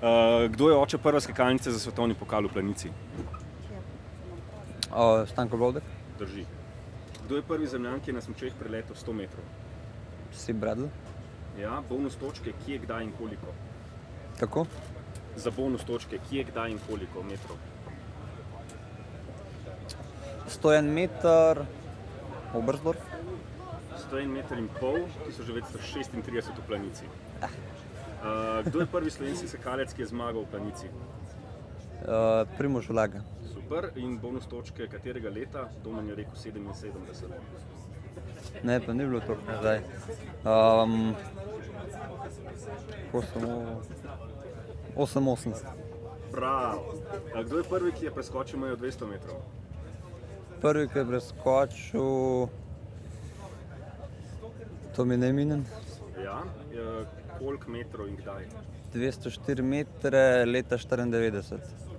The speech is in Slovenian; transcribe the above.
Uh, kdo je oče prve skakalnice za svetovni pokal v Planici? O, Stanko Brodek, Drži. Kdo je prvi zemljan, ki je na smočeh preletel 100 metrov? si Bradl, Ja, bonus točke, kje, kdaj in koliko. kako? Za bonus točke, kje, kdaj in koliko metrov. 101 meter, Oberstdorf, 101 meter in pol, 1936 v Planici. Uh, kdo je prvi slovenski skakalec, ki je zmagal v Planici? uh, Primož Vlaga, Super in bonus točke katerega leta, Domen je rekel 77. ne, to ni bilo tako nazaj. Um, 88, Bravo. A Eh, Kdo je prvi, ki je preskočil mejo 200 metrov? prvi, ki je preskočil, to mi ne minem. Ja, e, koliko metrov in kdaj? 204 metre leta 94.